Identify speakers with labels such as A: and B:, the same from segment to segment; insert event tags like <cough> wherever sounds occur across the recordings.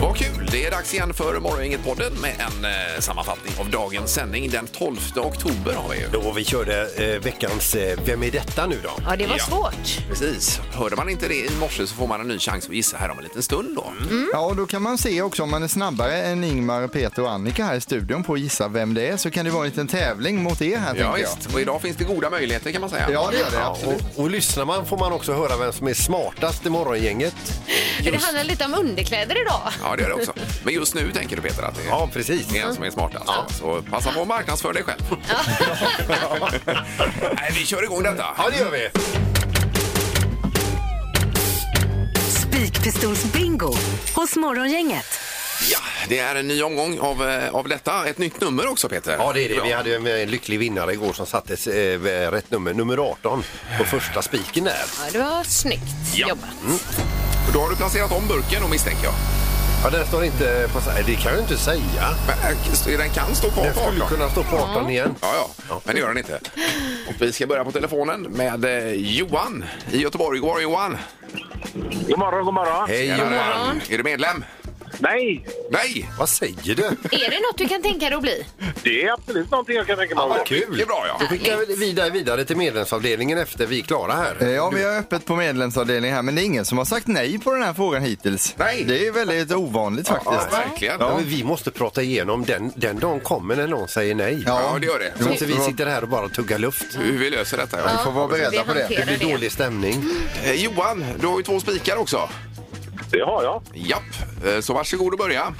A: Vad kul! Det är dags igen för Morgongänget-podden med en eh, sammanfattning av dagens sändning. Den 12 oktober har vi ju.
B: Då vi körde eh, veckans eh, Vem är detta nu då?
C: Ja, det var
A: Ja.
C: svårt.
A: Precis. Hörde man inte det i morse så får man en ny chans att gissa här om en liten stund då.
B: Mm.
D: Ja, och då kan man se också om man är snabbare än Ingmar, Peter och Annika här i studion på att gissa vem det är så kan det vara en liten tävling mot er här
A: Ja,
D: tänker jag.
A: visst. Och idag finns det goda möjligheter kan man säga.
D: Ja, det gör det.
A: Ja.
D: Absolut.
B: Och, och lyssnar man får man också höra vem som är smartast i morgongänget.
C: För det handlar lite om underkläder idag.
A: Ja, det gör det också. Men just nu tänker du Peter att det är
B: Ja, precis.
A: det är en som är smartast. Så passa på att marknadsföra dig själv. <laughs> Nej, vi kör igång detta.
B: Ja, det gör vi.
E: Spikpistolsbingo hos Morgongänget.
A: Ja, det är en ny omgång av, eh, av detta. Ett nytt nummer också Peter.
B: Ja, det är det. Vi hade ju en eh, lycklig vinnare igår som sattes eh, rätt nummer, nummer 18, på första spiken där.
C: Ja, det var snyggt
A: Ja. Mm.
C: jobbat.
A: Då har du placerat om burken och misstänker jag.
B: Ja, den står inte på... Det kan jag ju inte säga.
A: Men, eh, Den kan stå kvar
B: Den
A: på
B: skulle
A: 18.
B: kunna stå på 18 igen.
A: Ja, ja, men det gör den inte. Och vi ska börja på telefonen med eh, Johan i Göteborg. God morgon, Johan!
F: God morgon, god morgon.
B: Hej
A: Tjena,
B: Johan.
A: Johan. Är du medlem?
F: Nej,
A: Nej!
B: Vad säger du?
C: Är det något du kan tänka dig att bli?
F: det är absolut någonting jag kan tänka mig. om.
B: Ja, vad kul.
A: Det är bra, ja.
B: Då skickar vi vidare, vidare till medlemsavdelningen efter vi är klara här.
D: Eh, Ja, vi har öppet på medlemsavdelningen här, men det är ingen som har sagt nej på den här frågan hittills.
A: Nej.
D: Det är väldigt ovanligt faktiskt.
A: Ja, verkligen.
B: Ja,
A: Ja.
B: men vi måste prata igenom den, den dagen kommer när någon säger nej.
A: det gör det.
B: Så
D: Jo.
B: inte vi sitter här och bara tuggar luft.
A: Hur vi löser detta, ja.
D: Vi får vara
C: Vi
D: beredda på det.
C: hanterar
B: Det blir dålig stämning.
A: Eh, Johan, du har ju två spikar också.
F: Det har jag.
A: Japp, eh, så varsågod och börja.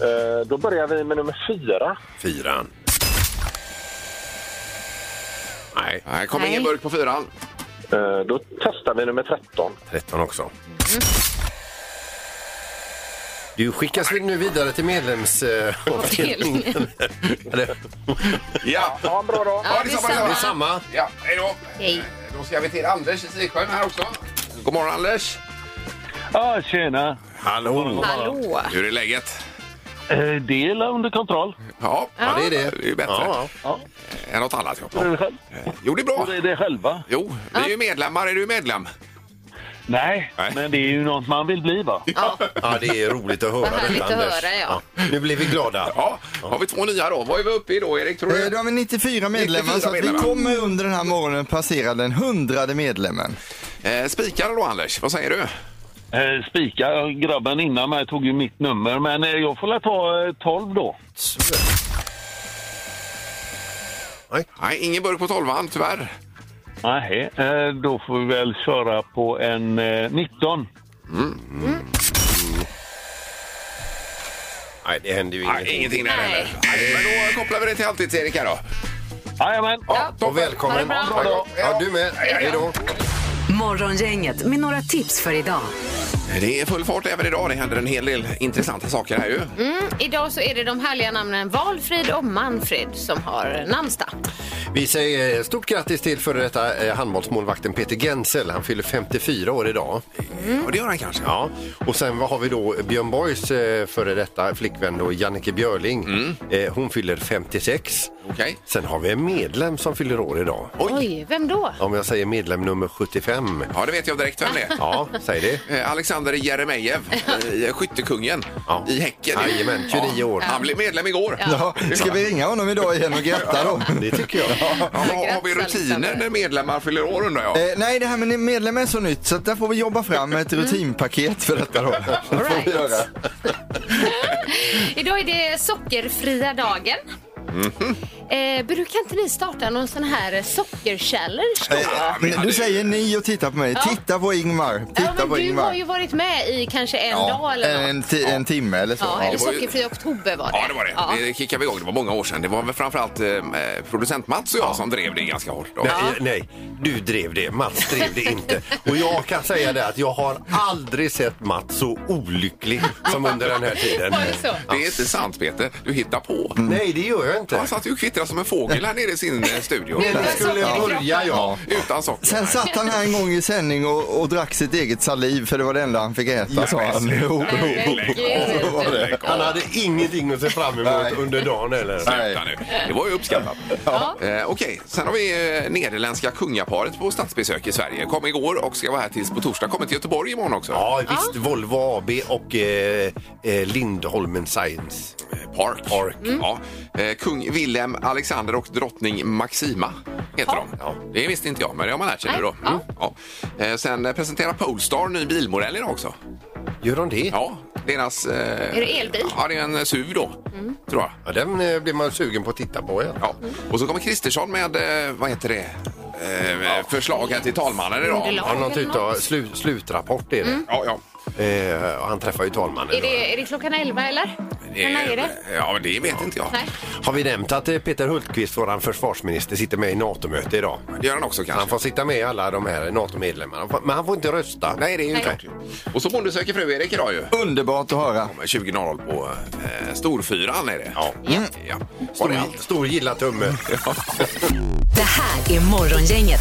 F: Eh, Då börjar vi med nummer fyra.
B: Fyran. Nej,
A: Nej, kom
C: Nej.
A: ingen burk på fyran.
F: Eh, Då testar vi nummer 13.
B: 13 också. Du skickas väl nu vidare till medlemsavdelningen? Eller?
A: Ja,
F: Ha en bra dag.
A: ja det är
C: det är
A: samma.
B: Det är samma.
A: Ja, hej då.
C: Hej.
A: Eh, Då ska vi till Anders i Sisjön här också. God morgon, Anders.
G: Ja, tjena.
B: Hallå.
C: Hallå!
A: Hur är läget?
G: Eh, Det är under kontroll.
A: Ja,
B: Ja, det är det.
A: det är ju bättre Eh,
B: Ja,
A: än något annat. Ja.
G: Hur är det själv?
A: Jo, det är bra.
G: Hur
H: Mm.
G: är det själva?
A: Jo, vi är ju medlemmar. Är du medlem?
G: Nej,
A: Nej.
G: men det är ju något man vill bli, va?
B: ja, det är roligt att höra
C: Vad härligt
B: detta,
C: att
B: Anders.
C: höra, ja.
B: Nu blir vi glada.
A: Ja, har vi två nya då. Vad är vi uppe i då, Erik? Tror
D: Eh, Då
A: du?
D: har vi 94 medlemmar,
A: 94
D: så att
A: medlemmar.
D: vi kommer under den här morgonen passera den hundrade medlemmen.
A: Eh, spikar då, Anders. Vad säger du?
G: Eh, Spika, grabben innan mig tog ju mitt nummer, men eh, jag får väl ta eh, 12 då.
A: Nej, ingen burk på tolvan, tyvärr.
G: Nej, eh, då får vi väl köra på en eh, 19.
B: Nej, det händer ju
A: Nej,
B: ingenting.
A: ingenting där
C: Nej.
A: heller. Nej, men då kopplar vi det till alltid till Erik här då.
G: Jajamän!
A: toppen.
B: Och välkommen.
C: Ha det bra.
B: Ja, Ja, du med. Hej då.
E: Morgongänget med några tips för idag.
A: Det är full fart även idag. Det händer en hel del intressanta saker här ju.
C: Idag så är det de härliga namnen Valfrid och Manfred som har namnsdag.
B: Vi säger stort grattis till före detta eh, handbollsmålvakten Peter Gensel. Han fyller 54 år idag.
A: Och det gör han kanske.
B: Ja. Och sen vad har vi då Björn Borgs eh, före detta flickvän då, Jannike Björling. Eh, Hon fyller 56.
A: Okej.
B: Sen har vi en medlem som fyller år idag.
C: Oj, vem då?
B: Om jag säger medlem nummer 75.
A: Ja, det vet jag direkt vem det är.
B: Ja, säg det.
A: Eh, Alexander Jeremejeff, <laughs> eh, skyttekungen
B: Ja.
A: i Häcken.
B: Jajamän, 29 år.
A: Han blev medlem igår.
D: Ja, ska vi ringa honom idag igen och gratta då?
B: Det tycker jag.
A: Ja, har, har vi
C: Grattis,
A: rutiner
C: Alexander.
A: när medlemmar fyller år undrar jag?
D: Eh, nej, det här med medlemmar är så nytt så att där får vi jobba fram ett rutinpaket för detta då. Det får vi göra.
C: Idag är det sockerfria dagen.
A: Mhm.
C: Eh, brukar inte ni starta någon sån här sockerchallenge? då?
A: Ja, men
D: Men Du säger ni och tittar på mig. Titta på Ingmar.
C: Ja,
D: Titta
C: men
D: på
C: du
D: Ingmar.
C: har ju varit med i kanske en dag eller något.
D: en, ti- en timme eller så.
C: Ja, eller
A: det var ju-
C: sockerfri oktober var det.
A: Ja, det var det.
C: Ja.
A: Det kickade vi igång. Det var många år sedan. Det var väl framförallt eh, producent Mats och jag som drev det ganska hårt. Då.
B: Nej, nej, du drev det. Mats drev det inte. Och jag kan säga det att jag har aldrig sett Mats så olycklig som under den här tiden.
C: Var det så?
A: Det är inte sant, Peter. Du hittar på.
D: Mm.
B: Nej, det gör jag inte.
A: Han satt ju och kvittrar som en fågel här nere i sin eh, studio.
B: Nej, det skulle börja jag.
A: Utan socker.
D: Sen
A: Nej.
D: satt han här en gång i sändning och, och drack sitt eget saliv för det var det enda han fick äta, sa han. Jo, jo. <laughs>
C: Herregud.
D: var det.
A: Lägg av.
B: Han hade ingenting att se fram
D: Nej.
B: emot under dagen eller?
A: Sluta nu. Det var ju uppskattat. Eh, Okej, sen har vi eh, nederländska kungaparet på statsbesök i Sverige. Kom igår och ska vara här tills på torsdag. Kommer till Göteborg imorgon också.
B: Ja, visst. Volvo AB och eh, eh, Lindholmen Science.
A: Eh, Park. Ja. Eh, Kung Wilhelm Alexander och drottning Maxima heter de. Ja. Det visste inte jag, men det har man lärt sig nu då.
C: Nej,
A: Mm. Ja. Eh, sen eh, presenterar Polestar ny bilmodell idag också.
B: Gör de det?
A: Ja, deras... Eh,
C: Är det elbil? Mm.
A: Ja, det är en eh, SUV då, tror jag.
B: Ja, den eh, blir man sugen på att titta på. Ja.
A: Ja. Och så kommer Kristersson med, eh, vad heter det, eh, förslag här till talmannen idag.
C: Underlag.
B: Ja, någon
C: eller
B: typ av slu, slutrapport är det.
A: Ja, ja.
B: Eh, och han träffar ju talmannen.
C: Är det, är det klockan 11 eller? Eller när är det?
A: Eh, Ja, men det vet inte jag.
C: Nej.
B: Har vi nämnt att eh, Peter Hultqvist, vår försvarsminister, sitter med i NATO-möte idag?
A: Det gör han också kanske.
B: Han får sitta med i alla de här NATO-medlemmarna, men han får inte rösta.
A: Nej, det är ju
C: Nej.
A: klart. ju. Och så Bonde söker fru, Erik, idag ju.
D: Underbart att höra.
A: Kommer 20.00 på eh, Storfyran är det. Ja. ja. Var
B: Stor,
A: det allt?
B: stor gilla tumme.
E: Det här är Morgongänget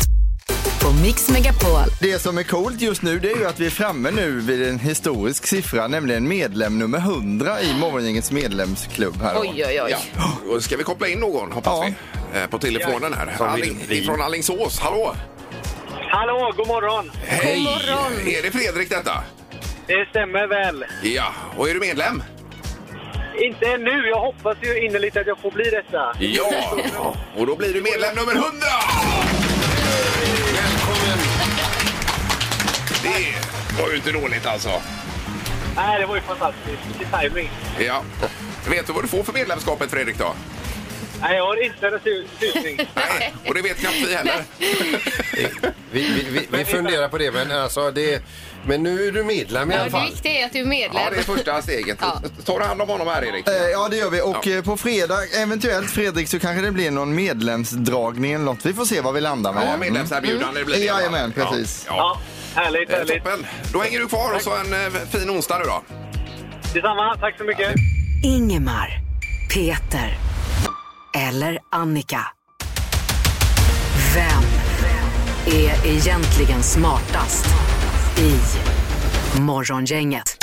E: på Mix Megapol.
D: Det som är coolt just nu det är ju att vi är framme nu vid en historisk siffra, nämligen medlem nummer 100 i Morgongängets medlemsklubb. Här då.
C: Oj, oj, oj.
A: Ja. Och Ska vi koppla in någon, hoppas
D: Ja.
A: vi, eh, på telefonen här?
B: Som
A: Alling,
B: vi- vi-
A: Från Allingsås. Hallå!
F: Hallå, god morgon!
A: Hej!
C: morgon.
A: Är det Fredrik detta?
F: Det stämmer väl.
A: Ja. Och är du medlem?
F: Inte ännu. Jag hoppas ju innerligt att jag får bli detta.
A: Ja! Och då blir du medlem nummer 100! Välkommen! Det var ju inte dåligt alltså.
F: Nej, det var ju fantastiskt. Vilken tajming.
A: Ja. Vet du vad du får för medlemskapet Fredrik då?
F: Nej, jag har inte en susning.
A: Nej. Och det vet knappt vi heller.
B: Eh, Vi, vi, vi, vi funderar på det, men, alltså, det, men nu är du medlem i
C: Ja,
B: alla
C: det
B: fall.
C: viktiga är att du är
A: Ja,
C: medlem.
A: det är första steget.
C: Ja.
A: Tar du hand om honom här Erik?
D: Eh, Ja, det gör vi. Och eh, på fredag, eventuellt Fredrik, så kanske det blir någon medlemsdragning eller något. Vi får se vad vi landar med.
A: Ja, medlemserbjudande det blir det. va?
D: Jajamän, precis.
A: Ja.
F: härligt,
A: Ja. Eh, Toppen! Då hänger du kvar och så en eh, fin onsdag nu då.
F: Detsamma. Tack så mycket.
E: Ingemar, Peter eller Annika. Vem är egentligen smartast i Morgongänget?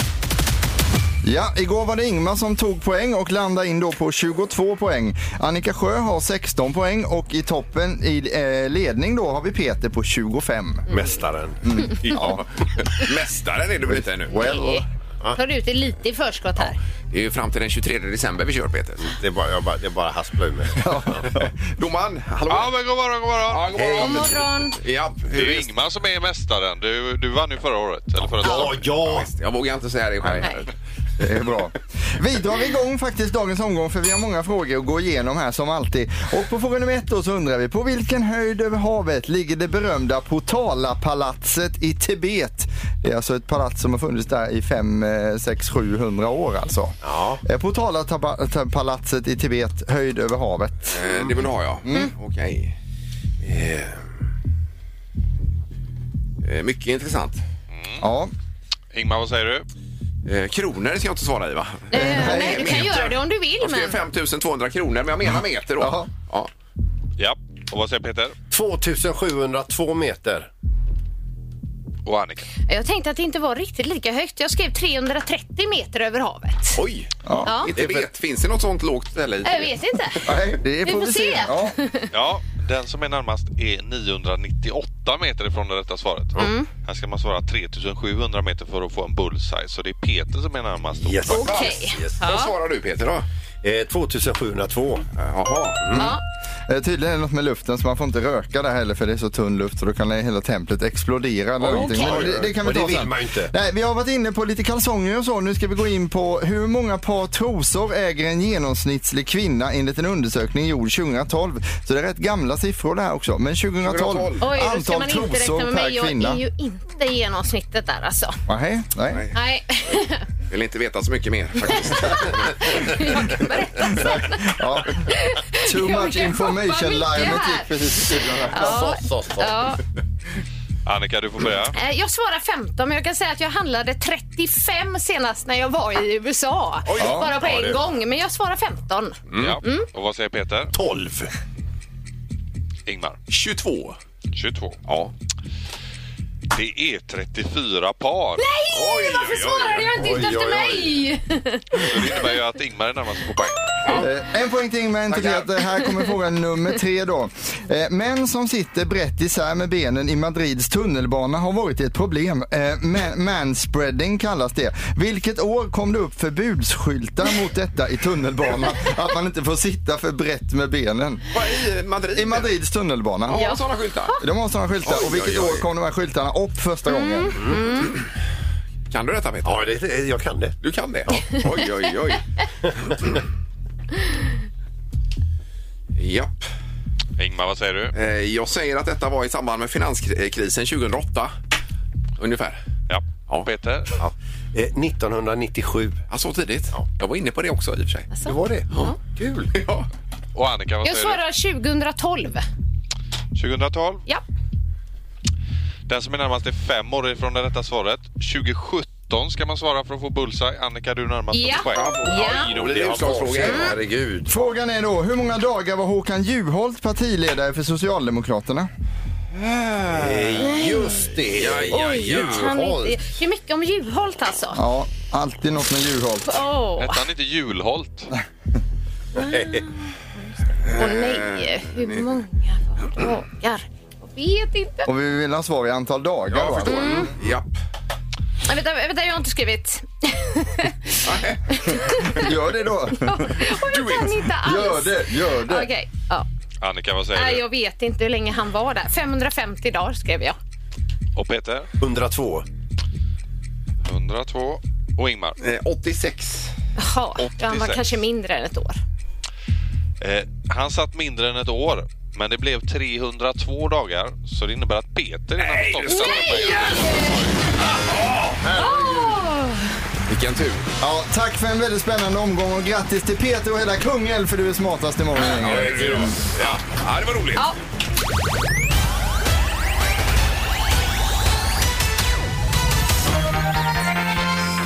D: Ja, igår var det Ingmar som tog poäng och landade in då på 22 poäng. Annika Sjö har 16 poäng och i toppen i eh, ledning då har vi Peter på 25.
B: Mästaren.
A: Ja. <laughs> Mästaren är du väl inte ännu?
B: Well,
C: Tar du ut det lite i förskott här?
A: Det är ju fram till den 23 december vi kör Peter.
B: det är bara, jag bara, det är bara haspla ur mig.
A: Domaren, hallå?
I: Ja, men god morgon, god morgon.
A: Ja, god
C: God
A: morgon.
C: morgon.
A: Ja,
I: Det är
A: hur
I: ju Ingmar som är mästaren. Du, du vann ju förra året. Eller förra
B: Ja, ja!
A: Jag vågar inte säga det själv.
C: Nej.
D: Det är bra. Vi drar igång faktiskt dagens omgång för vi har många frågor att gå igenom här som alltid. Och på fråga nummer ett då så undrar vi på vilken höjd över havet ligger det berömda Potala-palatset i Tibet? Det är alltså ett palats som har funnits där i 5, 6, 700 år alltså.
B: Ja.
D: Eh, Potala-palatset i Tibet, höjd över havet.
B: Mm.
A: Eh, Det vill ha jag.
D: Mm.
A: Okej. Eh, eh, Mycket intressant.
D: Ja,
I: Ingmar, vad säger du?
A: Eh, Kronor ska jag inte svara i va?
C: Eh, Nej, du kan
A: meter.
C: göra det om du vill,
A: Jag skrev
C: men...
A: 5200 kronor men jag menar meter då.
D: Jaha.
A: Ja.
I: Ja. Och vad säger Peter?
B: 2702 meter.
I: Och Annika?
C: Jag tänkte att det inte var riktigt lika högt. Jag skrev 330 meter över havet.
A: Oj!
C: Ja.
A: Inte vet. Finns det något sånt lågt ställe? i
C: Jag
A: Tibet?
C: vet inte.
D: Nej, det
C: Vi får se.
D: Ja.
I: Ja, den som är närmast är 998 meter ifrån det rätta svaret. Här ska man svara 3700 meter för att få en bullseye. Så det är Peter som är närmast.
B: Yes.
C: Okej.
A: Vad
C: Ja.
A: svarar du Peter då? Eh,
B: Eh, 2702.
A: Jaha.
C: Ja.
D: Eh, Tydligen är det något med luften så man får inte röka där heller för det är så tunn luft så då kan hela templet explodera. Eller någonting.
C: okej.
D: Men det, det kan vi
B: Och det
D: ta
B: vill
D: sen.
B: man ju inte.
D: Nej, vi har varit inne på lite kalsonger och så. Nu ska vi gå in på hur många par trosor äger en genomsnittlig kvinna enligt en undersökning gjord 2012. Så det är rätt gamla siffror det här också. Men 2012,
A: 2012.
C: Oj, då ska
D: antal
C: man inte räkna
D: trosor
C: med
D: per
C: mig. Jag
D: kvinna.
C: är ju inte i genomsnittet där alltså.
D: Nej, nej.
B: <laughs>
C: Nej,
A: Vill inte veta så mycket mer faktiskt.
C: berätta sen.
D: Ja.
C: <laughs>
D: Too
C: Jag
D: much
C: kan hoppa
D: information.
C: mycket
D: Lionel
C: här.
D: gick precis i studion här.
C: Ja.
B: Så, så, så.
C: Ja.
I: Annika, du får börja.
C: Eh, Jag svarar 15, men jag kan säga att jag handlade 35 senast när jag var i USA.
B: Oj, ja.
C: Bara på
B: Ja,
C: en
B: det- Mm,
C: gång, men jag svarar 15.
I: Ja. Och vad säger Peter?
B: 12.
I: Ingmar?
A: 22.
I: 22.
A: Ja.
I: Det är 34 par.
C: Nej, varför svarade jag inte
B: Oj,
C: just efter
B: oj,
C: mig?
I: Så det innebär ju att Ingmar är närmast på poäng.
D: Eh, En poäng till Ingmar, inte
A: Tackar.
D: fel. Det Här kommer fråga nummer tre då. Eh, Män som sitter brett isär med benen i Madrids tunnelbana har varit ett problem. Eh, ma- Manspreading kallas det. Vilket år kom det upp förbudsskyltar mot detta i tunnelbanan? Att man inte får sitta för brett med benen.
A: Vad i Madrid?
D: I Madrids tunnelbana.
A: Ja, sådana skyltar.
D: De har sådana skyltar.
A: Oj,
D: Och vilket
A: oj, oj.
D: år kom de här skyltarna upp första gången?
A: Kan du detta Peter?
B: Ja, det, det- jag kan det.
A: Du kan det? Oj, oj, oj. Japp.
I: Ingmar, vad säger du?
A: Eh, Jag säger att detta var i samband med finanskrisen 2008. Ungefär.
I: Ja.
A: Ja.
I: Peter?
B: Eh, 1997.
A: Ja, så tidigt? Jag var inne på det också i och för sig.
B: Det var det? Ja. Kul.
A: Ja.
I: Och Annika, vad
C: Jag
I: säger du?
C: svarar 2012.
I: 2012.
C: Ja.
I: Den som är närmast är fem år ifrån det rätta svaret. 2017 ska man svara för att få bullseye. Annika, du är närmast
C: Ja.
I: på poäng.
C: Ja.
I: Oj,
A: Då blir
I: då blir
A: det
I: jag bra.
A: utslagsfråga. igen.
B: Herregud.
D: Frågan är då, hur många dagar var Håkan Juholt partiledare för Socialdemokraterna?
B: Eh, Just det. Ja, ja,
C: Han är inte... Det är mycket om Juholt alltså.
D: Ja, alltid något med Juholt.
C: Åh,
I: Hette han inte Julholt?
C: åh nej. Hur många var det dagar? Jag vet inte.
D: Och vi vill ha svar i antal dagar.
A: Jag
D: va?
A: förstår. Mm. Japp.
C: Nej, Vänta, vänta, jag har inte
I: <laughs>
C: skrivit.
D: Gör <laughs> det då.
C: Och jag kan inte alls.
D: Gör det, gör det.
C: Okej. Ja.
I: Annika, vad säger
C: Nej,
I: du?
C: jag vet inte hur länge han var där. 550 dagar skrev jag.
I: Och Peter?
B: 102.
I: 102. Och Ingmar?
A: Eh, 86.
C: Jaha, ja, han var
I: 86.
C: kanske mindre än ett år.
I: Eh, han satt mindre än ett år, men det blev 302 dagar. Så det innebär att Peter är närmast också.
A: Vilken tur.
D: Ja, tack för en väldigt spännande omgång och grattis till Peter och hela Kungälv för du är smartast i morgon.
A: Ja. ja, det var roligt.
C: Ja.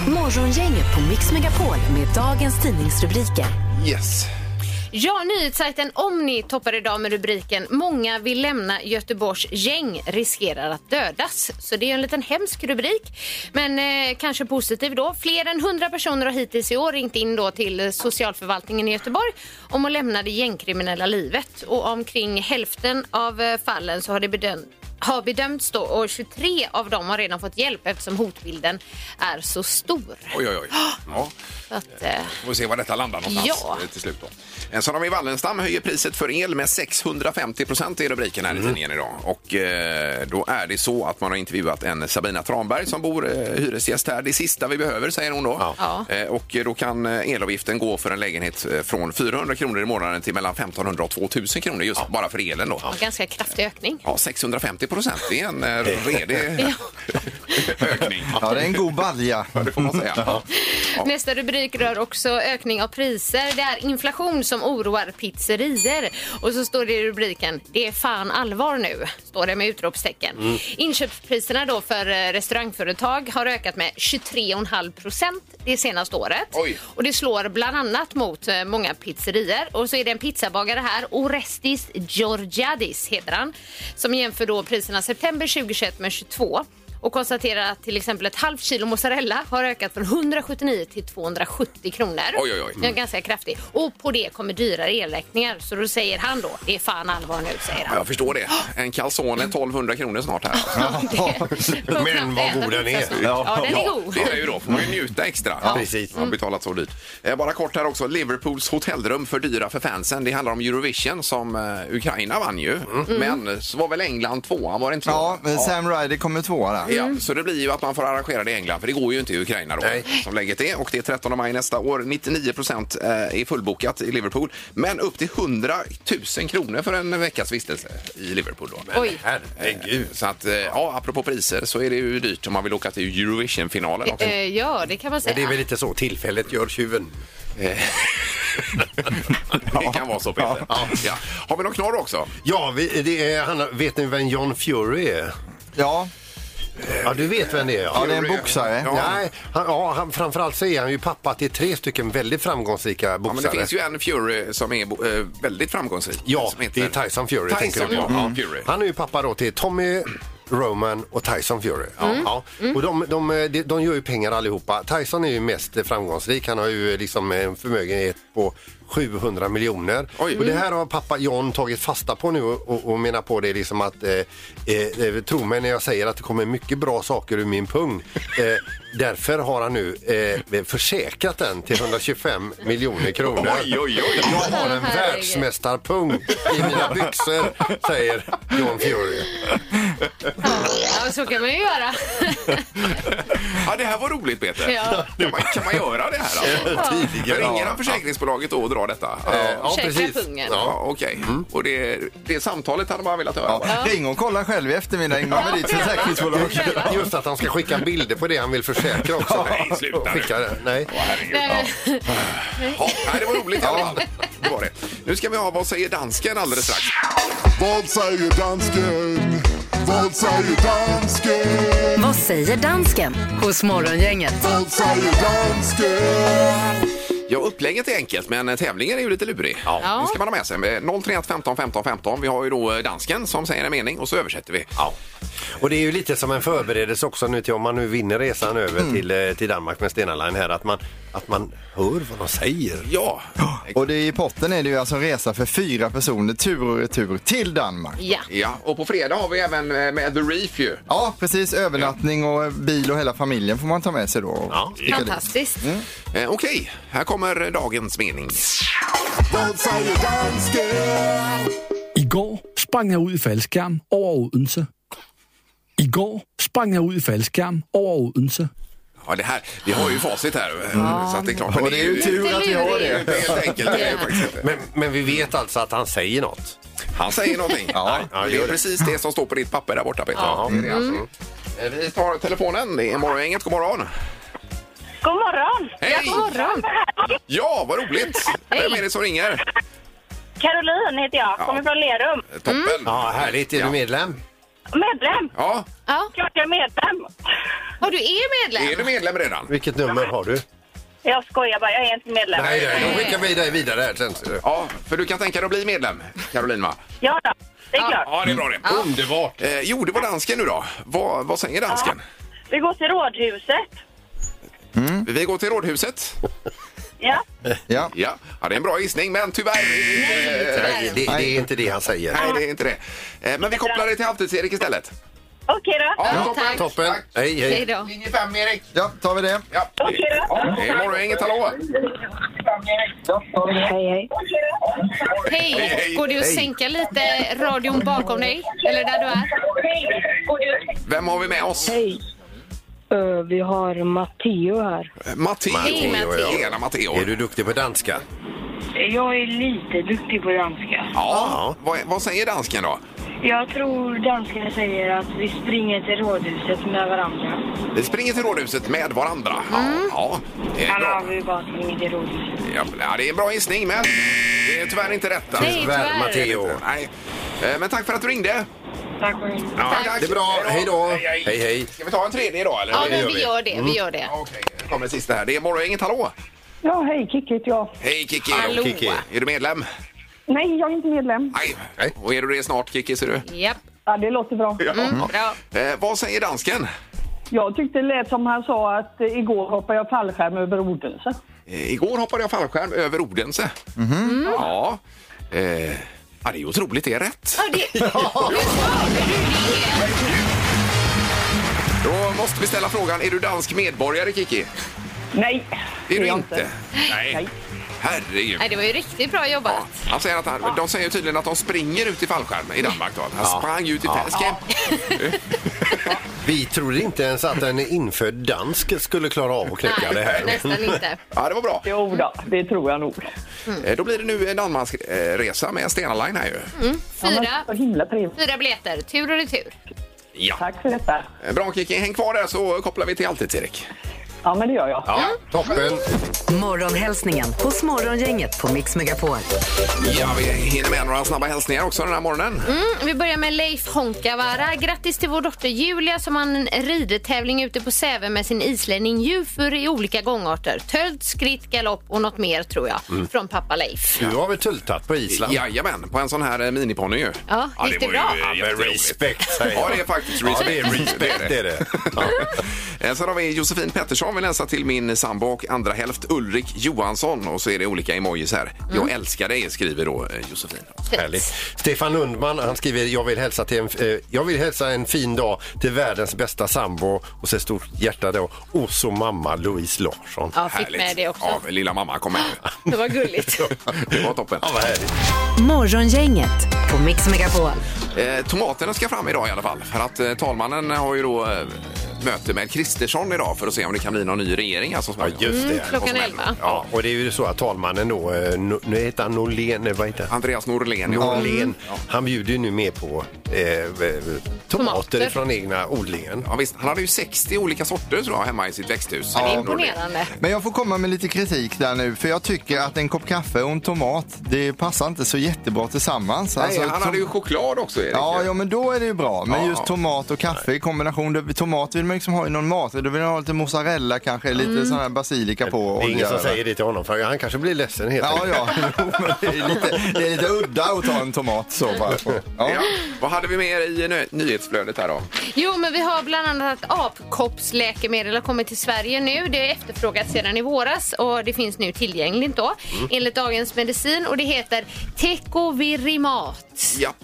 E: Morgongänget på Mix Megapol med dagens tidningsrubriker.
A: Yes.
C: Ja, nyhetssajten Omni toppar idag med rubriken Många vill lämna Göteborgs gäng riskerar att dödas. Så det är en liten hemsk rubrik, men eh, kanske positiv då. Fler än 100 personer har hittills i år ringt in då till socialförvaltningen i Göteborg om att lämna det gängkriminella livet. Och omkring hälften av eh, fallen så har det bedömts har bedömts då och 23 av dem har redan fått hjälp eftersom hotbilden är så stor.
A: Oj,
B: <gasps>
A: oj, oj. Ja.
C: Så att, eh,
A: Får vi se var detta landar någonstans
C: Ja.
A: eh, till slut. Då. Eh, Så har vi Wallenstam höjer priset för el med 650 procent i rubriken här i tidningen idag. Och eh, då är det så att man har intervjuat en Sabina Tranberg som bor eh, hyresgäst här. Det sista vi behöver, säger hon då.
C: Ja.
A: Eh, Och då kan eh, elavgiften gå för en lägenhet eh, från 400 kronor i månaden till mellan 1500 och 2000 kronor just bara för elen då.
C: ganska kraftig ökning.
A: Ja, 650 procent. Det är en eh, <laughs> redig ökning.
D: Ja, det är en god balja.
A: Ja, det får man säga.
C: Nästa rubrik rör också ökning av priser. Det är inflation som oroar pizzerier. Och så står det i rubriken “Det är fan allvar nu”, står det med utropstecken. Inköpspriserna då för eh, restaurangföretag har ökat med 23,5 procent det senaste året.
A: Oj.
C: Och det slår bland annat mot eh, många pizzerier. Och så är det en pizzabagare här, Orestis Georgiadis heter han, som jämför då priserna september 2021 med 22 och konstaterar att till exempel ett halvt kilo mozzarella har ökat från 179 till 270 kronor.
A: Oj, oj, oj.
C: Det är
B: Mm.
C: ganska kraftigt. Och på det kommer dyrare elräkningar. Så då säger han då, det är fan allvar nu, säger
A: Ja,
C: han. <laughs>
A: jag förstår det. En calzone är 1200 kronor snart här.
C: Det-
B: Men vad god den är.
C: <laughs> Ja, den är
A: Ja,
C: god.
A: det är ju då. Får man ju njuta extra.
B: Ja, precis.
C: Mm.
A: Man har betalat så dyrt. Eh, Bara kort här också. Liverpools hotellrum för dyra för fansen. Det handlar om Eurovision som eh, Ukraina vann ju.
B: Mm.
C: Mm.
A: Men så var väl England tvåa, var det inte så?
D: Ja, men Sam Ryder kommer tvåa där.
A: Ja,
C: Mm.
A: så det blir ju att man får arrangera det i England, för det går ju inte i Ukraina då,
B: Nej.
A: som läget är. Och det är 13 maj nästa år. 99 procent eh, är fullbokat i Liverpool, men upp till 100 000 kronor för en veckas vistelse i Liverpool då.
C: Oj.
B: Herregud.
A: Så att, eh, ja, apropå priser så är det ju dyrt om man vill åka till Eurovision-finalen också.
C: Eh, Ja, det kan man
B: Men
C: säga.
B: det är väl lite så, tillfället gör tjuven.
A: Eh. <laughs> Det kan vara så, Peter. Ja. Har vi någon knorr också?
B: Ja, vi, det är, han, vet ni vem John Fury är?
D: Ja,
B: Ja, du vet vem det är.
D: ja det är en boxare.
A: Ja.
B: Nej, han, ja, han, framförallt så är han ju pappa till tre stycken väldigt framgångsrika
A: Ja, men det
B: boxare.
A: finns ju en Fury som är bo- eh, väldigt framgångsrik.
B: Ja,
A: som
B: det är Tyson Fury. tänker
A: Tyson,
B: du
A: ja.
B: på. Mm.
A: ja Fury.
B: Han är ju pappa då till Tommy Roman och Tyson Fury. Ja. Och de, de, de, de gör ju pengar allihopa. Tyson är ju mest framgångsrik. Han har ju liksom en förmögenhet på 700 miljoner.
A: Oj.
B: Och det här har pappa John tagit fasta på nu och, och- och menar på det liksom att eh, eh, eh, tro mig när jag säger att det kommer mycket bra saker ur min pung. Eh, därför har han nu eh, försäkrat den till 125 miljoner kronor.
A: Oj, oj, oj.
B: Jag har en
C: Herregud.
B: världsmästarpung i mina byxor, säger John Fury.
C: Ja, så kan man ju göra.
A: Ja, det här var roligt Peter.
C: Ja.
A: Kan man- Kan man göra det här alltså?
B: Tidigare.
A: Ringer han försäkringsbolaget då och drar detta?
B: Eh,
A: Ja, Mm.
B: Ja,
C: Käka
B: precis.
C: pungen.
B: Ja.
A: okej. Och det, det samtalet hade man velat höra.
D: Ja.
A: va?
D: Ring och kolla själv i eftermiddag innan med ditt försäkringsbolag.
B: Just att han ska skicka bilder på det han vill försäkra också.
A: Nej, sluta nu.
B: Skicka det. Nej.
C: Nej,
A: Ja, nej, det var roligt i alla fall. Det var det. Nu ska vi ha Vad säger dansken alldeles strax.
J: Vad säger dansken? Vad säger dansken?
E: Vad säger dansken hos Morgongänget?
J: Vad säger dansken?
A: Ja, upplägget är enkelt, men tävlingen är ju lite lurig.
C: Ja.
A: Det ska man ha med sig. Eh, 031 15 15 15. Vi har ju då eh, dansken som säger en mening och så översätter vi.
B: Ja. Och det är ju lite som en förberedelse också nu till om man nu vinner resan över till, eh, till Danmark med Stena Line här att man, att man hör vad de säger.
A: Ja,
D: Och det är i potten är det ju alltså en resa för fyra personer tur och retur till Danmark.
C: ja.
A: ja. och på fredag har vi även eh, med The Reef ju.
D: Ja, precis. Övernattning och bil och hela familjen får man ta med sig då. och
B: Ja.
D: sticka dit.
C: Fantastiskt.
A: Eh, Okej, här kommer dagens mening.
J: Vad säger dansken?
K: I går sprang jag ut i faldskärm över Odense. I går sprang jag ut i faldskärm över Odense.
A: Ja, det här, vi har ju facit här. eh, Så att det är klart. men
D: Och det är ju tur att vi har
A: det
D: det.
A: är helt enkelt. Det är ju faktiskt inte.
B: Men, men vi vet alltså att han säger något.
A: Han säger någonting.
B: Ja,
A: Nej,
B: ja, det
A: det är
B: gör det.
A: precis det som står på ditt papper där borta, Peter. Det är det, alltså. Eh, Vi tar telefonen. Det är Morgongänget. God morgon!
H: God morgon!
A: Hej!
C: God morgon.
A: Ja, vad roligt! Vem är det som ringer? Eh,
H: Caroline heter jag, kommer från Lerum.
A: Toppen!
B: Ja, härligt. Är
A: Ja.
B: du medlem?
H: Medlem!
A: Ja,
C: Ja.
H: Klart jag är medlem!
C: Och du är
A: är
C: medlem?
A: du medlem redan?
B: Vilket nummer har du?
H: Jag skojar bara, jag är inte medlem.
B: Nej, nej, då skickar vi dig vidare här sen. ser du.
A: <laughs> Ja, för du kan tänka dig att bli medlem, Caroline, va?
H: Ja då, det är klart.
A: Ja, det är bra det.
B: Underbart!
A: Eh, jo, det var dansken nu då. Vad, vad säger dansken?
H: Vi går till Rådhuset.
A: Mm. Vi går till Rådhuset.
H: Ja.
D: Ja.
A: Ja, ja det är en bra gissning, men tyvärr... eh,
B: Nej, det, det är inte det han säger.
A: nej, det är inte det. Eh, men vi kopplar det till halvtids-Erik istället.
H: Okej då.
A: Ja, toppen.
C: tack.
B: Toppen! Hej, hej!
C: Hej då.
A: Linje 5, Erik.
D: ja, tar vi det.
A: Ja.
H: Okej då.
A: Det är Morgongänget, hallå!
H: Hej, hej.
C: Hej! Går det att sänka lite radion bakom dig? Eller där du är?
A: Vem har vi med oss?
H: Eh, vi har Matteo här.
A: Matteo.
C: Hej, Matteo.
A: Tjena, Matteo.
B: Är du duktig på danska?
H: Jag är lite duktig på danska.
A: Ja. Vad, vad säger dansken då?
H: Jag tror danskarna säger att vi springer till rådhuset med varandra.
A: Vi springer till Rådhuset med varandra. Ja,
H: Mm.
A: ja. Det är
H: Alla
A: bra.
H: har vi bara sprungit till rådhuset.
A: Ja, det är en bra gissning, men det är tyvärr inte rätt. alltså.
C: Nej,
B: Väl,
C: tyvärr.
B: Matteo.
A: Nej. Eh, Men tack för att du ringde.
H: Tack för det.
A: Ja,
B: Det är bra. Hej då. Hej, hej.
A: Ska vi ta en tredje idag eller?
C: Ja,
A: Det
C: men vi gör det. Vi gör det.
A: Okej, nu kommer det sista här. Det är Morgongänget, hallå!
H: Ja, hej, Kikki heter jag.
A: Hej Kiki!
C: Hallå.
B: Kiki.
A: Är du medlem?
H: Nej, jag är inte medlem.
A: Nej.
B: Nej.
A: Och är du det snart Kiki, ser du?
C: Japp.
H: Ja, det låter bra.
A: Ja.
C: Bra.
A: Eh, vad säger dansken?
H: Jag tyckte det lät som han sa att eh, igår hoppade jag fallskärm över Odense.
A: Eh, igår hoppade jag fallskärm över Odense. Ja. Eh, ja, det är otroligt, det är rätt.
C: Ja,
A: <laughs>
C: det...
A: Då måste vi ställa frågan, är du dansk medborgare Kiki?
H: Nej,
A: Det är du
H: jag
A: inte. Nej.
H: Nej.
A: Herregud.
C: Nej, det var ju riktigt bra
A: Ja,
C: jobbat.
A: han säger att han, de säger ju tydligen att de springer ut i fallskärm i Danmark. Då. Han sprang ut i fallskärm.
B: Vi trodde inte ens att en infödd dansk skulle klara av att knäcka det
C: Nej,
B: här.
C: nästan inte.
A: Ja, det var bra.
H: Jo då, det tror jag nog.
A: Eh, Då blir det nu en Danmarksresa med Stena Line här ju.
C: Fyra,
H: Så himla trevligt.
C: fyra biljetter, tur och retur.
A: Ja.
H: Tack för detta.
A: Eh, Bra Kiki, häng kvar där så kopplar vi till alltid Erik.
L: Ja, men det gör jag.
B: Ja, toppen.
E: Morgonhälsningen hos Morgongänget på Mix Megapol.
A: Ja, vi hinner med några snabba hälsningar också den här morgonen.
C: Mm, vi börjar med Leif Honkavara. Grattis till vår dotter Julia som vann en ridtävling ute på Säve med sin islänning Jufur i olika gångarter. Tölt, skritt, galopp och något mer tror jag.
A: Mm.
C: Från pappa Leif.
A: Du har väl tultat på Island? Jajamän, på en sån här eh, miniponny ju.
C: Ja, gick det bra?
A: Ja, men respekt
B: säger jag.
A: Ja, det är faktiskt
B: Ja,
A: respekt.
B: det är respekt, det är det.
A: Eh, Sen har vi Josefin Pettersson vill hälsa till min sambo och andra hälft Ulrik Johansson och så är det olika emojis här.
C: Mm.
A: Jag älskar dig skriver då eh, Josefin.
B: Härligt. Stefan Lundman han skriver jag vill, hälsa till en, eh, jag vill hälsa en fin dag till världens bästa sambo och så ett stort hjärta då. Och så mamma Louise Larsson.
C: Ja, fick Härligt. med det också.
A: Ja, lilla mamma kom med.
C: Det var gulligt.
A: det var toppen. Ja,
E: Morgongänget på Mix Megapol.
A: Eh, tomaterna ska fram idag i alla fall. För att eh, talmannen har ju då eh, möte med Kristersson idag för att se om det kan bli någon ny regering. Alltså, ja,
B: just det. Mm, klockan
C: elva.
B: Ja, och det är ju så att talmannen då, eh, N- nu heter han Norlén, nej, vad heter han?
A: Andreas Norlén. ja.
B: Norlén.
A: Mm.
B: Han bjuder ju nu med på eh, eh, tomater, från egna odlingen.
A: Ja, visst. Han hade ju 60 olika sorter tror jag, hemma i sitt växthus.
D: Ja. Det är
C: Imponerande.
D: Men jag får komma med lite kritik där nu, för jag tycker att en kopp kaffe och en tomat, det passar inte så jättebra tillsammans.
A: Nej,
D: Alltså,
A: han
D: tom-
A: hade ju choklad också, Erik.
D: Ja, ja, men då är det ju bra. Men
A: Ja.
D: just tomat och kaffe i kombination. Det, tomat vill man liksom ha i någon mat. Då vill man ha lite mozzarella kanske, lite
B: Mm.
D: sån här basilika på.
B: Det är ingen
D: olja
B: som
D: över.
B: säger det till honom för han kanske blir ledsen helt
D: Ja,
B: enkelt.
D: ja. <laughs> Jo, men det, är lite, det är lite udda att ta en tomat så
C: <laughs>
D: bara. på. Ja.
A: Ja. Vad hade vi mer i ny- nyhetsflödet här då?
C: Jo, men vi har bland annat att apkoppsläkemedel har kommit till Sverige nu. Det är efterfrågat sedan i våras och det finns nu tillgängligt då
A: Mm.
C: enligt Dagens Medicin och det heter Tecovirimat.
A: Japp.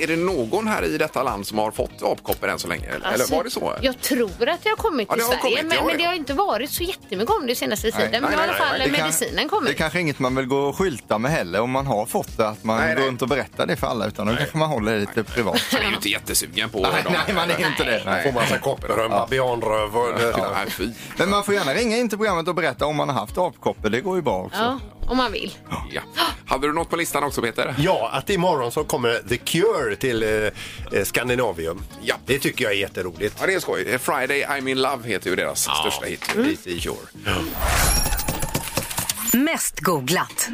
A: Är det någon här i detta land som har fått apkoppor än så länge? Eller,
C: Alltså,
A: eller var det så?
C: Jag tror att det har kommit
A: Ja,
C: till
A: det har
C: Sverige,
A: kommit,
C: men,
A: ja,
C: men
A: ja.
C: det har inte varit så jättemycket om det senaste tiden. men i alla fall
D: Det kan-
C: medicinen
D: Det är
C: kommit.
D: kanske inget man vill gå och skylta med heller om man har fått det. Att man
A: Nej,
D: går
A: nej.
D: runt och berättar det för alla utan då kanske man håller det lite
C: <laughs>
D: privat.
A: Jag är ju inte jättesugen på
D: Nej,
A: dem.
D: nej, man är inte det.
B: Man får massa koppar och babianröv. och-
A: Ja, nej, fy.
D: Men man får gärna ringa in till programmet och berätta om man har haft apkoppor. Det går ju bra <laughs> också.
C: Ja, om man vill.
A: Ja. Hade du något på listan också Peter?
B: Ja, att imorgon så kommer The Cure till eh, eh, Skandinavium. Ja. Det tycker jag är jätteroligt.
A: Ja, det är skoj. Eh, Friday I'm in love heter ju deras största hit. BT Cure.
E: Mest googlat.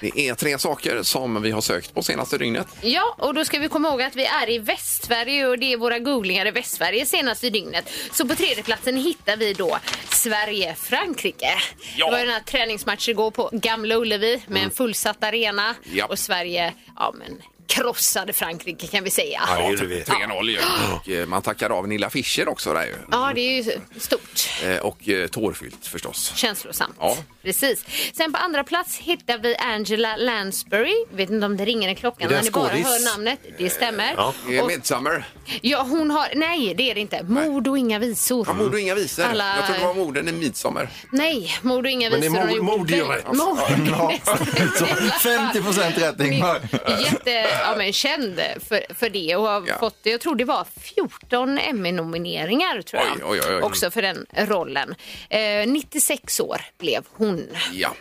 A: Det är tre saker som vi har sökt på senaste dygnet.
C: Ja, och då ska vi komma ihåg att vi är i Västsverige och det är våra googlingar i Västsverige senaste dygnet. Så på tredjeplatsen hittar vi då Sverige-Frankrike.
M: Ja.
C: Det var ju den här träningsmatchen igår på Gamla Ullevi med en fullsatt arena
A: Mm. Ja.
C: och Sverige, ja men krossade Frankrike kan vi säga.
A: Ja, 3-0 ju. Och, eh, Man tackar av Nilla Fischer också där ju.
C: Ja, det är ju stort.
A: Eh, Och eh, tårfyllt förstås.
C: Känslosamt.
A: Ja.
C: Precis. Sen på andra plats hittar vi Angela Lansbury. Vet inte om det ringer en klocka
A: Är
C: när
A: det
C: ni
A: en
C: bara
A: skådis?
C: hör namnet. Det stämmer.
A: Ja. Det är
C: Och-
A: Midsummer.
C: Ja, hon har... Nej, det är det inte. Mord och inga visor.
A: Ja, mord och inga visor.
C: Alla...
A: Jag trodde det var morden i midsommar.
C: Nej, mord och inga
A: Men det
C: visor.
A: är
C: har
A: mord-
C: gjort
A: mord är ju
C: väldigt-
A: rätt.
C: Mord. <laughs>
A: Ja.
D: Så 50 procent rätt Ingmar.
C: Jätte, ja, men känd för, för det och har
D: Ja.
C: fått, jag tror det var 14 Emmy-nomineringar tror jag.
A: Oj, oj, oj, oj.
C: Också för den rollen. Eh, 96 år blev hon.
A: Ja.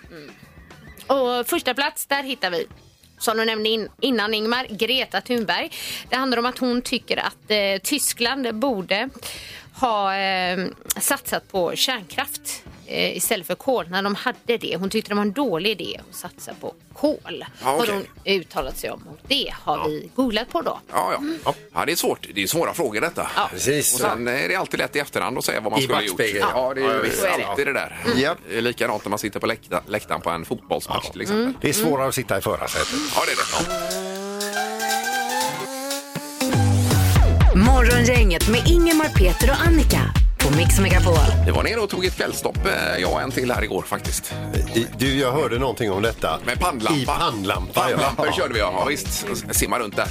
C: Och första plats, där hittar vi som du nämnde in, innan Ingmar, Greta Thunberg. Det handlar om att hon tycker att eh, Tyskland borde ha eh, satsat på kärnkraft eh, istället för kol när de hade det. Hon tyckte det var en dålig idé att satsa på kol.
A: Ja, okej.
C: Har hon uttalat sig om och det har vi googlat på då.
A: Ja, ja. ja. ja det, är svårt. det är svåra frågor detta.
B: Precis.
A: Och sen eh, är det alltid lätt i efterhand att säga vad man
B: I
A: skulle ha gjort.
B: backspegeln.
A: Ja, det
B: Ja,
A: är ju
B: visst.
A: alltid det där.
B: Mm.
A: Det är Likadant när man sitter på läkta, läktaren på en fotbollsmatch till exempel.
B: Det är svårare att sitta i förarsätet.
A: Ja, det är det.
E: Morgongänget med Ingemar, Peter och Annika på Mix Megapol.
A: Vi var nere och tog ett kvällsstopp, eh, jag och en till här igår faktiskt.
B: I- Du, jag hörde någonting om detta.
A: Med pannlampa.
B: I pannlampa,
A: Pannlampor
B: ja.
A: körde vi, ja, ja visst. Och Simma runt där.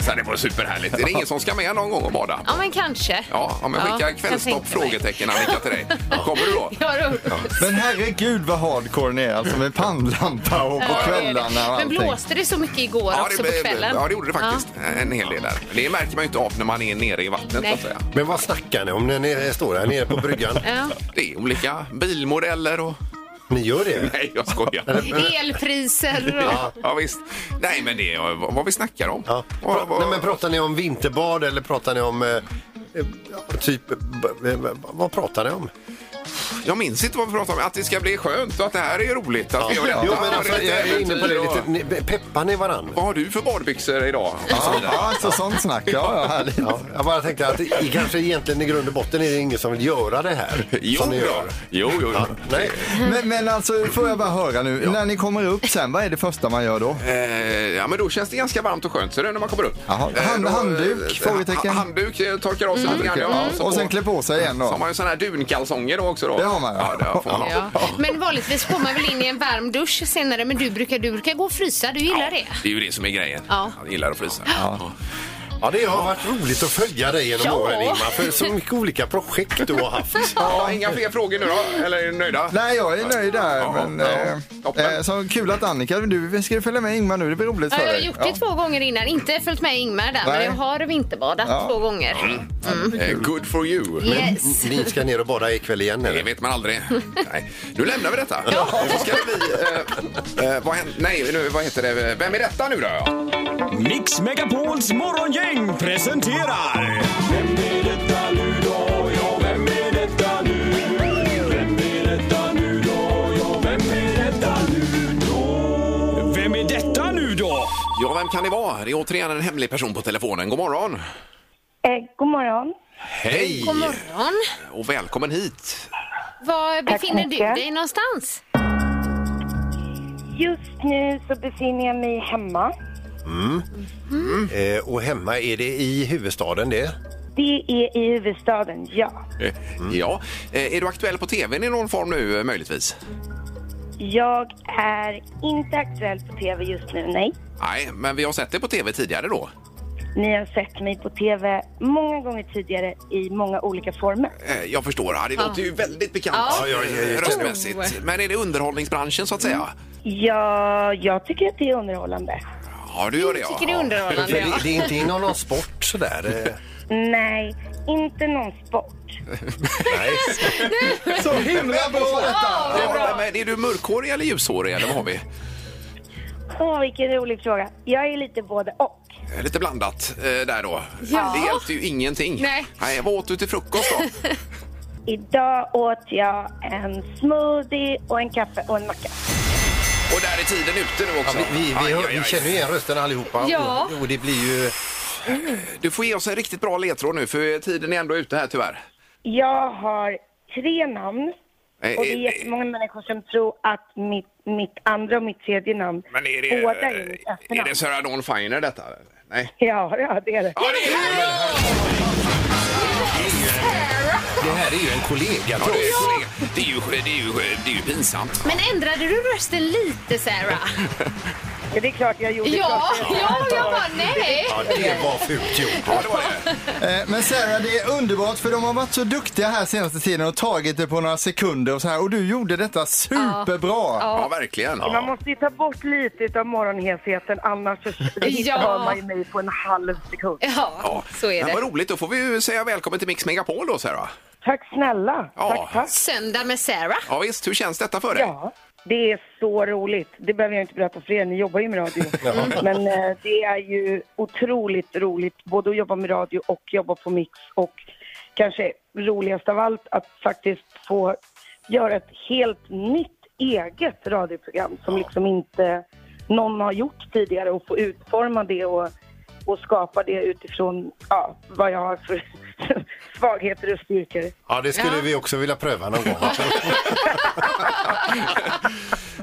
A: Så här, det var superhärligt. Är det ingen som ska med någon gång och bada?
C: Ja, men kanske.
A: Ja, ja men
C: jag
A: skicka
C: kan tänka
A: kvällsstopp?
C: mig.
A: Frågetecken Annika till dig. Kommer du
C: <laughs>
A: då?
C: Ja, då.
D: Men herregud vad hardcore ni är alltså med pannlampa och på
C: Ja, det är det.
D: kvällarna och
C: Men
D: allting.
C: blåste det så mycket igår också på kvällen?
A: ja, det gjorde det faktiskt. Eh,
C: Ja.
A: En hel del där. Det märker man ju inte av när man är nere i vattnet. Så
C: Nej.
A: att säga.
B: Men vad snackar ni om när ni står här nere på bryggan?
C: <laughs> Ja.
A: Det är olika bilmodeller och... <laughs>
B: Ni gör det?
A: Nej, jag skojar.
C: Elpriser och...
A: Ja, ja, visst. Nej, men det är vad, vad vi snackar om. Ja. Vad, vad,
B: Nej, men pratar ni om eh, vinterbad eller pratar ni om eh, eh, typ... b- b- Vad pratar ni om?
A: Jag minns inte vad vi pratade om. Att det ska bli skönt och att det här är roligt. Att vi gör detta.
B: Jo, men alltså,
A: Det
B: jag är inne på det
A: äventyr
B: lite.
A: och-
B: Ni, peppar ni varann?
A: Vad har du för badbyxor idag?
D: Ja, alltså sånt snack. Ja, ja, härligt.
B: Ja, jag bara tänkte att i, kanske egentligen i grund och botten är det ingen som vill göra det här.
A: <laughs> Jo,
B: som ni
A: då.
B: gör.
A: jo, jo. jo.
B: Nej.
D: Men, men alltså, får jag bara höra nu. När ni kommer upp sen, vad är det första man gör då?
A: Eh, ja, men då känns det ganska varmt och skönt ser du, när man kommer upp.
D: Jaha. Hand-
A: då,
D: handduk?
A: eh,
D: Frågetecken.
A: ha- Handduk, eh, torkar av sig lite grann.
D: Ja,
A: så
D: och
A: på-
D: sen klä på sig igen
A: Så har man
D: då.
A: ju sådana här dunkalsonger då också. Då.
D: Det har man,
A: ja.
D: ja.
A: det får man ha.
C: Ja. Men vanligtvis kommer man väl in i en varm dusch senare, men du brukar, du brukar gå och frysa. Du gillar det?
A: Det är ju det som är grejen.
C: Ja.
A: Jag gillar att frysa.
B: Ja, det har varit roligt att följa dig genom
C: Ja.
B: åren, Ingmar. För så mycket olika projekt du
C: <laughs>
B: har haft.
A: Ja, inga fler frågor nu då? Eller är ni nöjda?
D: Nej, jag är nöjd där. Men,
A: ja.
D: eh,
A: Toppen.
D: eh, så kul att Annika, du ska du följa med Ingmar nu? Det blir roligt
C: Ja,
D: för
C: jag har
D: dig.
C: gjort det två gånger innan. Inte följt med Ingmar där, men
D: Nej.
C: jag har vinterbadat
D: Ja.
C: två gånger.
A: Eh, Good for you.
C: Yes.
B: Ni ska ner och bada ikväll igen,
A: Det
B: eller?
A: vet man aldrig. Nej. Nu lämnar vi detta. Och så ska vi... Eh, eh, vad, hän- nej, nu, vad heter det? Vem är detta nu då?
L: Mix Megapols morgongäng presenterar... Vem är detta nu då? Ja, vem är detta nu? Vem är detta nu då? Ja, vem är detta nu då? Vem är detta nu då?
A: Ja, vem kan det vara? Det är återigen en hemlig person på telefonen. God morgon!
H: Eh, god morgon.
A: Hej!
C: God morgon.
A: Och välkommen hit!
C: Var befinner
H: så
C: du
H: mycket.
C: dig någonstans?
H: Just nu så befinner jag mig hemma.
B: Eh, och hemma, är det i huvudstaden det?
H: Det är i huvudstaden, ja.
A: Eh, Ja, eh, är du aktuell på tvn i någon form nu eh, möjligtvis?
H: Jag är inte aktuell på tv just nu, nej.
A: Nej, men vi har sett dig på tv tidigare då.
H: Ni har sett mig på tv många gånger tidigare i många olika former.
A: Eh, Jag förstår, ja, det låter ju väldigt bekant
C: Ja. Mm.
B: ja, ja,
A: eh,
B: ja.
A: röstmässigt. Men är det underhållningsbranschen så att säga?
H: Ja, jag tycker att det är underhållande.
A: Ja, du gör det ja.
C: Tycker det är
A: Ja.
B: För
C: underhållande?
B: det,
C: Ja.
B: det är inte inom någon sport <laughs> sådär? Eh,
H: Nej, inte någon sport.
B: nej.
D: Så himla bra detta!
A: Ja, men är du mörkhårig eller ljushårig eller vad har vi? Eh,
H: Åh, vilken rolig fråga. Jag är lite både och.
A: Eh, Lite blandat eh, där då.
C: Ja.
A: Det hjälpte ju ingenting.
C: Nej.
A: Nej, vad åt du till frukost
C: <laughs>
A: då?
H: Idag åt jag en smoothie och en kaffe och en macka.
A: Och där är tiden ute nu
B: Ja,
A: också.
B: vi, vi, vi,
A: Aj,
B: hör,
A: aj,
B: vi
A: aj.
B: känner ju igen rösten allihopa.
C: Ja.
B: Och, och det blir ju...
A: Du får ge oss en riktigt bra ledtråd nu för tiden är ändå ute här tyvärr.
H: Jag har tre namn
A: Eh,
H: och det
A: eh,
H: är jättemånga människor som tror att mitt, mitt andra och mitt tredje namn
A: Men är det,
H: båda är mitt
A: är
H: efternamn.
A: det Sarah Dawn Finer detta? Nej.
H: Ja, ja, det är det.
A: Ja, det är det!
B: Det här är ju en kollega
A: Ja,
B: till
A: det, är,
B: oss.
A: kollega. det, är ju, det, är ju, det är ju pinsamt.
C: Men ändrade du rösten lite, Sarah?
H: Ja, Det är klart jag gjorde.
C: Ja,
H: klart jag-
C: ja, jag bara nej.
B: Ja, det var fult gjort.
A: Ja, det var det.
D: Eh, Men Sarah, det är underbart för de har varit så duktiga här senaste tiden och tagit det på några sekunder och så här. Och du gjorde detta superbra.
A: Ja, verkligen.
H: Man måste ju ta bort lite av morgonhesheten annars så
C: Ja.
H: hittar man ju mig på en halv sekund.
C: Ja,
A: Ja.
C: så är
A: Men
C: det.
A: vad roligt, då får vi ju säga välkommen till Mix Megapol då Sarah.
H: Tack snälla.
A: Ja.
H: Tack, tack.
C: Söndag med Sarah.
A: Ja, visst, hur känns detta för dig?
H: Ja, det är så roligt. Det behöver jag inte berätta för er, ni jobbar ju med radio. Men eh, det är ju otroligt roligt både att jobba med radio och jobba på Mix och kanske roligast av allt att faktiskt få göra ett helt nytt eget radioprogram som liksom inte någon har gjort tidigare och få utforma det och, och skapa det utifrån ja, vad jag har för <laughs> svagheter och styrkor.
B: Ja, det skulle vi också vilja pröva någon gång.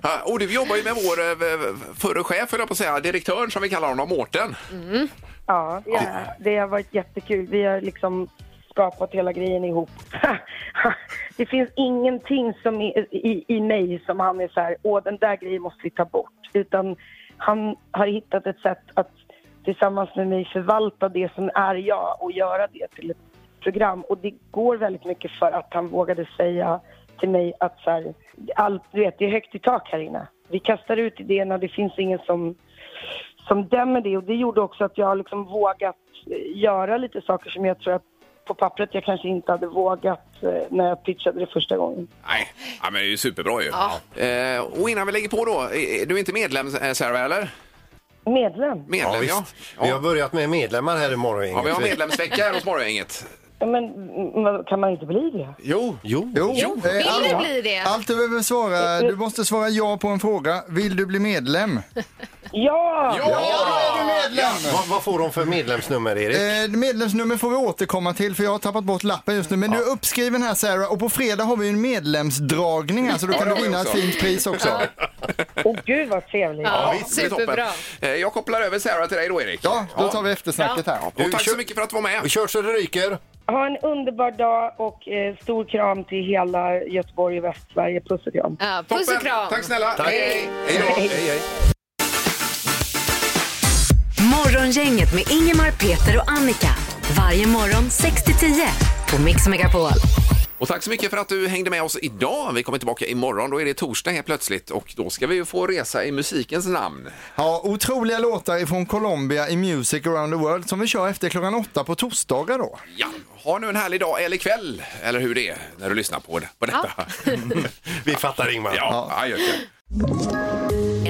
A: Ja, Och du jobbar ju med vår eh, v- förre chef, höll jag på att säga, direktören som vi kallar honom, Mårten.
H: Ja, det, är- det har varit jättekul. Vi har liksom skapat hela grejen ihop. <laughs> det finns ingenting som är, i, i mig som han är så här, åh den där grejen måste vi ta bort. Utan han har hittat ett sätt att tillsammans med mig förvalta det som är jag och göra det till ett program. Och det går väldigt mycket för att han vågade säga till mig att så här, allt, du vet, det är högt i tak här inne. Vi kastar ut idéerna, det finns ingen som som dömer det och det gjorde också att jag har liksom vågat eh, göra lite saker som jag tror att på pappret jag kanske inte hade vågat eh, när jag pitchade det första gången.
A: Nej, ja, men det är ju superbra ju.
C: Ja.
A: Eh, och innan vi lägger på då, eh, du är inte medlem eh, Sarah, eller?
H: Medlem?
A: Medlem,
B: Ja, visst. Vi har börjat med medlemmar här i morgon.
A: Ja, vi har medlemsvecka här hos Morgongänget.
H: Ja, men mm, vad- kan man inte bli det?
A: Jo.
B: Jo.
D: Jo.
H: Jo.
D: Eh,
H: Vill
D: allt-
H: du bli det?
D: Allt du behöver svara, du måste svara ja på en fråga. Vill du bli medlem?
H: Ja!
D: Ja, då är du medlem!
B: Vad, vad får de för medlemsnummer, Erik?
D: Eh, medlemsnummer får vi återkomma till för jag har tappat bort lappen just nu. Men du är uppskriven här Sarah och på fredag har vi en medlemsdragning här så då
A: Ja,
D: kan
A: det
D: du
A: har vi
D: vinna ett
A: också.
D: fint pris också.
H: Åh gud vad trevligt.
A: visst, det är toppen. Eh, Jag kopplar över Sarah till dig då, Erik.
D: Ja, då tar vi eftersnacket här.
A: Och tack så mycket för att du var med.
B: Kör så det ryker.
H: Ha en underbar dag och eh, stor kram till hela Göteborg och Västsverige. Puss och kram.
C: Ja, puss och kram.
A: Tack snälla.
C: Tack.
A: Hej, hej. Hej då. Hej, hej.
E: Morgongänget med Ingemar, Peter och Annika. Varje morgon 6 till 10 på Mix Megapol.
A: Och tack så mycket för att du hängde med oss idag. Vi kommer tillbaka imorgon. Då är det torsdag helt plötsligt och då ska vi ju få resa i musikens namn.
D: Ja, otroliga låtar ifrån Colombia i Music around the world som vi kör efter klockan åtta på torsdagar då.
A: Ja, ha nu en härlig dag eller kväll eller hur det är när du lyssnar på, det, på detta.
C: <laughs>
B: Vi fattar Ingmar.
A: Ja, ja. just det.